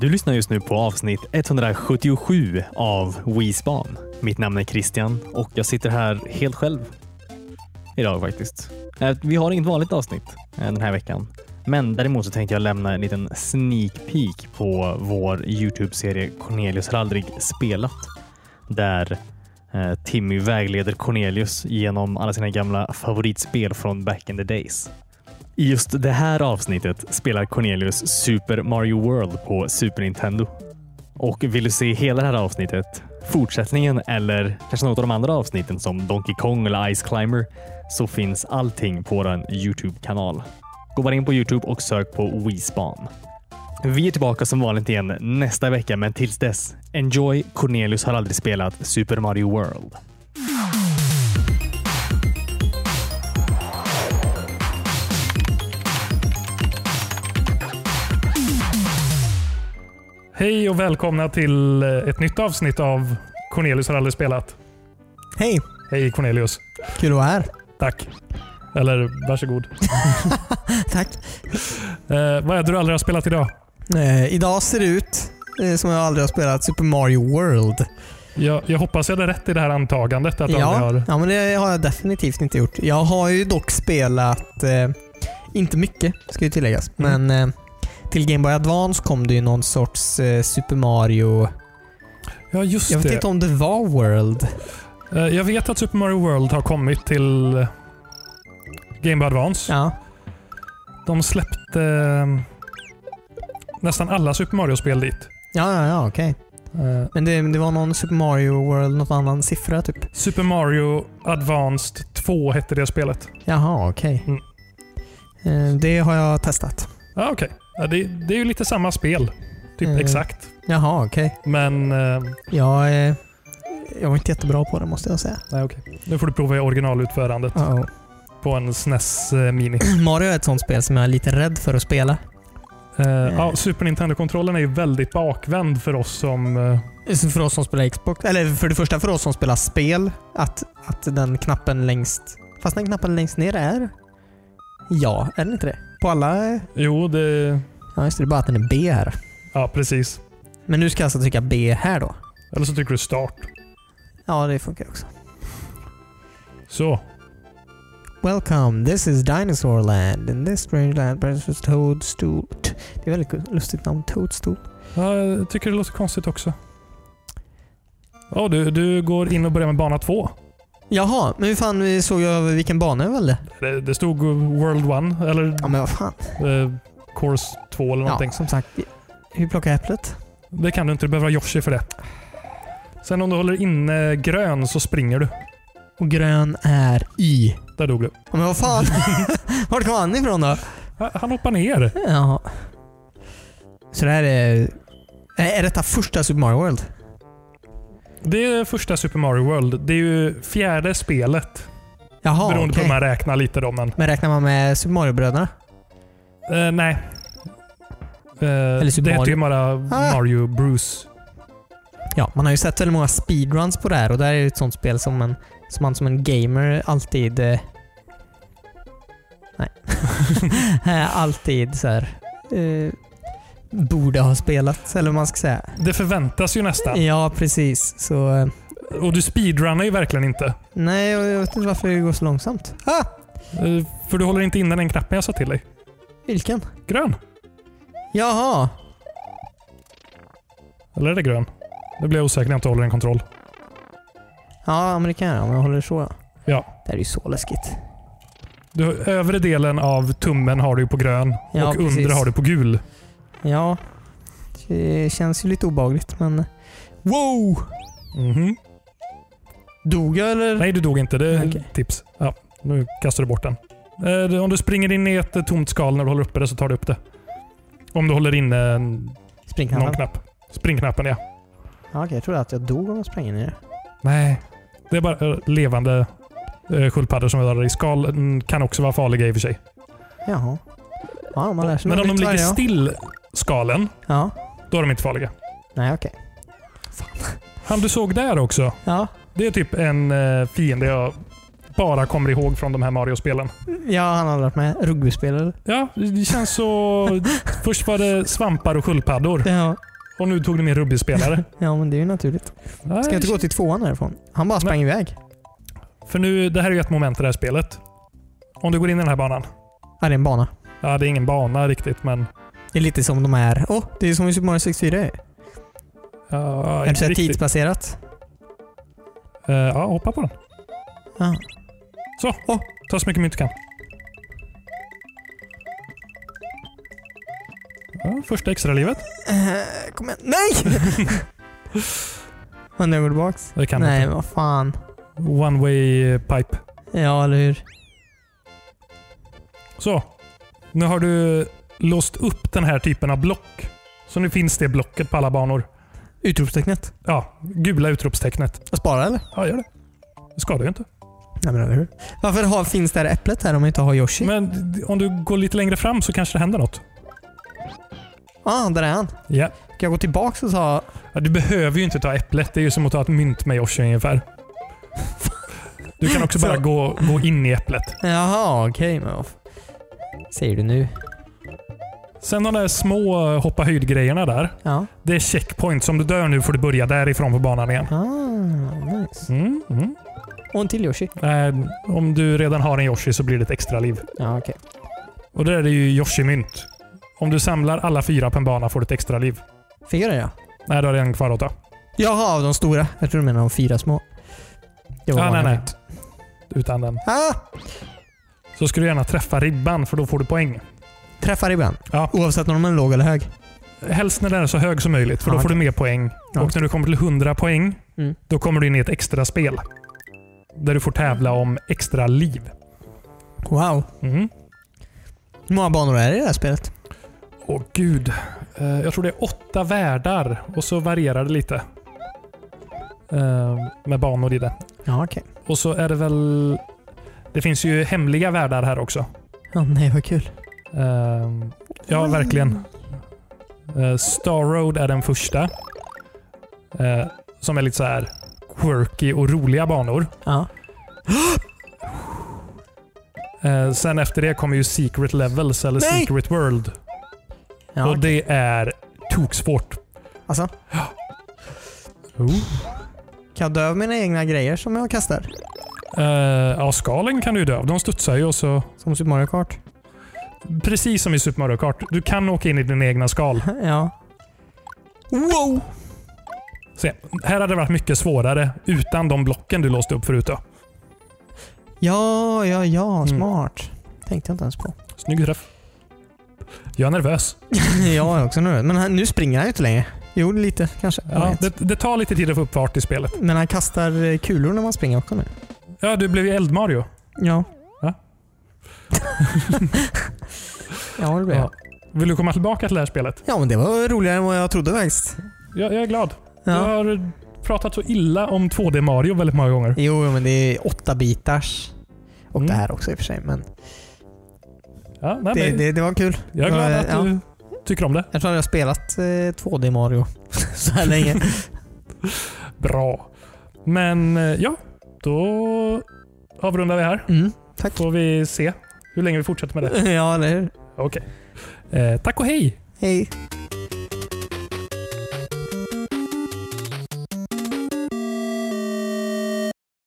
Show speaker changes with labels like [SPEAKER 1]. [SPEAKER 1] Du lyssnar just nu på avsnitt 177 av WeSpan. Mitt namn är Christian och jag sitter här helt själv idag faktiskt. Eh, Vi har inget vanligt avsnitt eh, den här veckan, men däremot så tänkte jag lämna en liten sneak peek på vår Youtube-serie Cornelius har aldrig spelat där eh, Timmy vägleder Cornelius genom alla sina gamla favoritspel från back in the days. I just det här avsnittet spelar Cornelius Super Mario World på Super Nintendo. Och vill du se hela det här avsnittet, fortsättningen eller kanske något av de andra avsnitten som Donkey Kong eller Ice Climber så finns allting på vår Youtube-kanal. Gå bara in på Youtube och sök på WeSpan. Vi är tillbaka som vanligt igen nästa vecka, men tills dess, enjoy Cornelius har aldrig spelat Super Mario World.
[SPEAKER 2] Hej och välkomna till eh, ett nytt avsnitt av Cornelius har aldrig spelat.
[SPEAKER 3] Hej,
[SPEAKER 2] Hej Cornelius.
[SPEAKER 3] kul att vara här.
[SPEAKER 2] Tack. Eller varsågod.
[SPEAKER 3] Tack.
[SPEAKER 2] Eh, vad är det du aldrig har spelat idag?
[SPEAKER 3] Eh, idag ser det ut eh, som jag aldrig har spelat Super Mario World.
[SPEAKER 2] Jag, jag hoppas jag hade rätt i det här antagandet. Att du aldrig
[SPEAKER 3] Ja,
[SPEAKER 2] har...
[SPEAKER 3] ja, men det har jag definitivt inte gjort. Jag har ju dock spelat, eh, inte mycket ska ju tilläggas,
[SPEAKER 2] Mm.
[SPEAKER 3] men eh, till Game Boy Advance kom det ju någon sorts eh, Super Mario...
[SPEAKER 2] ja just
[SPEAKER 3] Jag vet
[SPEAKER 2] det.
[SPEAKER 3] inte om det var World.
[SPEAKER 2] Eh, jag vet att Super Mario World har kommit till eh, Game Boy Advance.
[SPEAKER 3] Ja,
[SPEAKER 2] De släppte eh, nästan alla Super Mario-spel dit.
[SPEAKER 3] ja, ja, ja okej.
[SPEAKER 2] Eh,
[SPEAKER 3] Men det, det var någon Super Mario World, någon annan siffra typ.
[SPEAKER 2] Super Mario Advanced 2 hette det spelet.
[SPEAKER 3] Jaha, okej.
[SPEAKER 2] Mm.
[SPEAKER 3] Eh, det har jag testat.
[SPEAKER 2] Ja, Ah, okej. Ja, det, det är ju lite samma spel. Typ
[SPEAKER 3] Mm.
[SPEAKER 2] exakt.
[SPEAKER 3] Jaha, okej.
[SPEAKER 2] Men... Eh,
[SPEAKER 3] Jag, eh, jag var inte jättebra på det måste jag säga.
[SPEAKER 2] nej, okej. Nu får du prova i originalutförandet
[SPEAKER 3] Uh-oh.
[SPEAKER 2] på en SNES eh, Mini.
[SPEAKER 3] Mario är ett sånt spel som jag är lite rädd för att spela.
[SPEAKER 2] Eh, ja, Super Nintendo-kontrollen är ju väldigt bakvänd för oss som... Eh,
[SPEAKER 3] Så För oss som spelar Xbox, eller för det första för oss som spelar spel, att, att den knappen längst... Fast den knappen längst ner är... Ja, är den inte det? På alla... eh,
[SPEAKER 2] jo, det...
[SPEAKER 3] Ja, just det. Det är bara att den är B här.
[SPEAKER 2] Ja, precis.
[SPEAKER 3] Men nu ska jag alltså trycka B här då.
[SPEAKER 2] Eller så trycker du start.
[SPEAKER 3] Ja, det funkar också.
[SPEAKER 2] Så.
[SPEAKER 3] Welcome, this is Dinosaur Land. In this strange land, precious Toadstool... T- Det är väldigt kul- lustigt namn, Toadstool.
[SPEAKER 2] Ja, jag tycker det låter konstigt också. Ja, du, du går in och börjar med bana två.
[SPEAKER 3] Jaha, men hur fan vi såg jag vilken bana jag valde?
[SPEAKER 2] Det, det stod World 1 eller
[SPEAKER 3] Ja, men vad fan.
[SPEAKER 2] eh, Course 2 eller någonting.
[SPEAKER 3] Ja, som sagt. Hur plockar jag äpplet?
[SPEAKER 2] Det kan du inte. Du behöver ha Yoshi för det. Sen om du håller inne grön så springer du.
[SPEAKER 3] Och grön är Y.
[SPEAKER 2] Där dog du.
[SPEAKER 3] Ja, men vad fan? Vart kom han ifrån då?
[SPEAKER 2] Ha- Han hoppar ner.
[SPEAKER 3] Jaha. Så det här är... Nej, Är detta första Super Mario World?
[SPEAKER 2] Det är första Super Mario World. Det är ju fjärde spelet.
[SPEAKER 3] Jaha,
[SPEAKER 2] beroende på
[SPEAKER 3] Ah, okej.
[SPEAKER 2] hur man räknar lite då. Men,
[SPEAKER 3] Men räknar man med Super Mario-bröderna?
[SPEAKER 2] eh, nej. Eh,
[SPEAKER 3] Super
[SPEAKER 2] det heter ju
[SPEAKER 3] Mario.
[SPEAKER 2] bara
[SPEAKER 3] Ah.
[SPEAKER 2] Mario Bruce.
[SPEAKER 3] Ja, man har ju sett väldigt många speedruns på det här och det här är ju ett sånt spel som, en, som man som en gamer alltid... Eh, nej. Eh, alltid så här... Eh, borde ha spelat, eller vad man ska säga.
[SPEAKER 2] Det förväntas ju nästan.
[SPEAKER 3] Ja, precis. Så... eh,
[SPEAKER 2] Och du speedrunnar ju verkligen inte.
[SPEAKER 3] Nej, jag jag vet inte varför det går så långsamt. Ah,
[SPEAKER 2] Eh, för du håller inte inne den knappen jag sa till dig.
[SPEAKER 3] vilken?
[SPEAKER 2] Grön.
[SPEAKER 3] Jaha.
[SPEAKER 2] Eller är det grön? Nu blir jag osäker när jag inte håller en kontroll.
[SPEAKER 3] Ja, men det kan jag göra om jag håller så. Ja.
[SPEAKER 2] Ja.
[SPEAKER 3] Det här är ju så läskigt.
[SPEAKER 2] Du, övre delen av tummen har du ju på grön
[SPEAKER 3] Ja,
[SPEAKER 2] och
[SPEAKER 3] precis.
[SPEAKER 2] undre har du på gul.
[SPEAKER 3] Ja. Det känns ju lite obagligt men... Wow!
[SPEAKER 2] Mhm.
[SPEAKER 3] Dog jag eller?
[SPEAKER 2] Nej, du dog inte. Det är
[SPEAKER 3] Mm. Okej.
[SPEAKER 2] tips. Ja, nu kastar du bort den. Eh, det- Om du springer in i ett eh, tomt skal när du håller uppe det så tar du upp det. Om du håller inne en- någon
[SPEAKER 3] Springknappen?
[SPEAKER 2] knapp. Springknappen, ja.
[SPEAKER 3] Ja, okej, jag trodde att jag dog om jag sprang in i det.
[SPEAKER 2] Nej. Det är bara eh, levande eh, sköldpaddor som är i skal. mm, kan också vara farliga i och för sig.
[SPEAKER 3] Jaha. Ja, man lär sig
[SPEAKER 2] Men
[SPEAKER 3] något
[SPEAKER 2] om de
[SPEAKER 3] nytt
[SPEAKER 2] ligger
[SPEAKER 3] varje dag.
[SPEAKER 2] still, skalen,
[SPEAKER 3] Ja.
[SPEAKER 2] då är de inte farliga.
[SPEAKER 3] Nej, okej.
[SPEAKER 2] Han du såg där också,
[SPEAKER 3] Ja.
[SPEAKER 2] det är typ en eh, fiende jag bara kommer ihåg från de här Mario-spelen.
[SPEAKER 3] Ja, han har varit med. Rugbyspelare.
[SPEAKER 2] Ja, det känns så... Först var det svampar och sköldpaddor
[SPEAKER 3] Ja,
[SPEAKER 2] och nu tog de med rugbyspelare.
[SPEAKER 3] ja, men det är ju naturligt.
[SPEAKER 2] Nej,
[SPEAKER 3] Ska jag inte gå till tvåan härifrån? Han bara sprang iväg.
[SPEAKER 2] För nu, det här är ju ett moment i det här spelet. Om du går in i den här banan.
[SPEAKER 3] Ja, det är en bana.
[SPEAKER 2] Ja, det är ingen bana riktigt, men...
[SPEAKER 3] Det är lite som de här. Åh, oh, det är som i Super Mario 64 är.
[SPEAKER 2] Ja,
[SPEAKER 3] Är det
[SPEAKER 2] inte
[SPEAKER 3] så här
[SPEAKER 2] riktigt.
[SPEAKER 3] tidsbaserat?
[SPEAKER 2] Eh, ja, hoppa på den.
[SPEAKER 3] Ja.
[SPEAKER 2] Så,
[SPEAKER 3] Åh.
[SPEAKER 2] ta så mycket mynt du kan. Ja, första extra livet.
[SPEAKER 3] Eh, kom igen. Nej! Undrar går tillbaks?
[SPEAKER 2] Det kan
[SPEAKER 3] Nej,
[SPEAKER 2] inte.
[SPEAKER 3] vad fan.
[SPEAKER 2] One way pipe.
[SPEAKER 3] Ja, eller hur?
[SPEAKER 2] Så. Nu har du låst upp den här typen av block. Så nu finns det blocket på alla banor.
[SPEAKER 3] Utropstecknet.
[SPEAKER 2] Ja, gula utropstecknet.
[SPEAKER 3] Jag sparar eller?
[SPEAKER 2] Ja, gör det. Det skadar ju inte.
[SPEAKER 3] Nej, men eller hur? Varför har, finns det här äpplet här om jag inte har Yoshi?
[SPEAKER 2] Men d- om du går lite längre fram så kanske det händer något.
[SPEAKER 3] ah, där är han.
[SPEAKER 2] Ja.
[SPEAKER 3] Kan jag gå tillbaks och ta...
[SPEAKER 2] ja du behöver ju inte ta äpplet. Det är ju som att ta ett mynt med Yoshi ungefär. Du kan också bara
[SPEAKER 3] Så.
[SPEAKER 2] gå, gå in i äpplet.
[SPEAKER 3] Jaha, okej. men vad f- Säger du nu?
[SPEAKER 2] Sen de där små eh, hoppa höjd-grejerna där.
[SPEAKER 3] Ja.
[SPEAKER 2] Det är checkpoints. Om du dör nu får du börja därifrån på banan igen.
[SPEAKER 3] Ah, nice.
[SPEAKER 2] Mm, mm.
[SPEAKER 3] Och en till Yoshi.
[SPEAKER 2] Eh, om du redan har en Yoshi så blir det ett extra liv.
[SPEAKER 3] Ja, okej.
[SPEAKER 2] Och det där är ju Yoshi-mynt. Om du samlar alla fyra på en bana får du ett extra liv.
[SPEAKER 3] Fyra ja.
[SPEAKER 2] Nej, du har en kvar åtta.
[SPEAKER 3] Jaha, av de stora. Jag tror du menar de fyra små. Det var
[SPEAKER 2] Ah, nej,
[SPEAKER 3] många
[SPEAKER 2] nej.
[SPEAKER 3] mynt.
[SPEAKER 2] Utan den.
[SPEAKER 3] Ah!
[SPEAKER 2] Så ska du gärna träffa ribban för då får du poäng.
[SPEAKER 3] Träffar ibland.
[SPEAKER 2] Ja.
[SPEAKER 3] Oavsett om de är låg eller hög.
[SPEAKER 2] Helst när den är så hög som möjligt för då
[SPEAKER 3] Ja,
[SPEAKER 2] får du mer poäng.
[SPEAKER 3] Ja.
[SPEAKER 2] Och när du kommer till 100 poäng,
[SPEAKER 3] Mm.
[SPEAKER 2] då kommer du in i ett extra spel. Där du får tävla om extra liv.
[SPEAKER 3] Wow.
[SPEAKER 2] Mm.
[SPEAKER 3] Hur många banor är det i det här spelet?
[SPEAKER 2] Åh gud. Eh, jag tror det är åtta världar och så varierar det lite. Eh, med banor i det.
[SPEAKER 3] Ja, okej.
[SPEAKER 2] Och så är det väl... Det finns ju hemliga världar här också.
[SPEAKER 3] Ja, nej vad kul.
[SPEAKER 2] Eh, ja, verkligen. Eh, Star Road är den första. Eh, som är lite så här quirky och roliga banor.
[SPEAKER 3] Ja.
[SPEAKER 2] Eh, sen efter det kommer ju Secret Levels eller
[SPEAKER 3] Nej!
[SPEAKER 2] Secret World.
[SPEAKER 3] ja.
[SPEAKER 2] och det är toksvårt.
[SPEAKER 3] Alltså,
[SPEAKER 2] Oh.
[SPEAKER 3] kan jag dö av mina egna grejer som jag kastar?
[SPEAKER 2] Eh, ja, skalen kan du ju dö av. De studsar ju och så...
[SPEAKER 3] Som Super Mario Kart?
[SPEAKER 2] Precis som i Super Mario Kart. Du kan åka in i dina egna skal.
[SPEAKER 3] ja. Wow!
[SPEAKER 2] Se, här hade det varit mycket svårare utan de blocken du låste upp förut. Då.
[SPEAKER 3] Ja, ja, ja.
[SPEAKER 2] Mm.
[SPEAKER 3] Smart. Tänkte jag inte ens på.
[SPEAKER 2] Snygg träff. Jag är nervös.
[SPEAKER 3] jag är också nervös. Men han, nu springer han ju inte längre. Jo, lite kanske. Jag
[SPEAKER 2] Ja,
[SPEAKER 3] vet.
[SPEAKER 2] det, det tar lite tid att få upp fart i spelet.
[SPEAKER 3] Men han kastar eh, kulor när man springer också nu.
[SPEAKER 2] Ja, du blev ju Eld-Mario.
[SPEAKER 3] Ja.
[SPEAKER 2] Va?
[SPEAKER 3] ja, det blir jag.
[SPEAKER 2] Vill du komma tillbaka till det här spelet?
[SPEAKER 3] Ja, men det var roligare än vad jag trodde faktiskt.
[SPEAKER 2] Jag, jag är glad. Du
[SPEAKER 3] Ja.
[SPEAKER 2] har pratat så illa om 2D-Mario väldigt många gånger.
[SPEAKER 3] Jo, men det är åtta bitars. Och
[SPEAKER 2] Mm.
[SPEAKER 3] det här också i och för sig. Men
[SPEAKER 2] Ja, nej,
[SPEAKER 3] det,
[SPEAKER 2] men
[SPEAKER 3] det, det var kul.
[SPEAKER 2] jag är glad
[SPEAKER 3] Ja,
[SPEAKER 2] att
[SPEAKER 3] ja.
[SPEAKER 2] du tycker om det.
[SPEAKER 3] Jag tror aldrig jag har spelat eh, 2D Mario så här länge.
[SPEAKER 2] Mm. Bra. Men eh, ja, då avrundar vi här.
[SPEAKER 3] Mm, tack.
[SPEAKER 2] Får vi se hur länge vi fortsätter med det.
[SPEAKER 3] Ja, eller hur?
[SPEAKER 2] Okej. Eh, tack och hej!
[SPEAKER 3] Hej.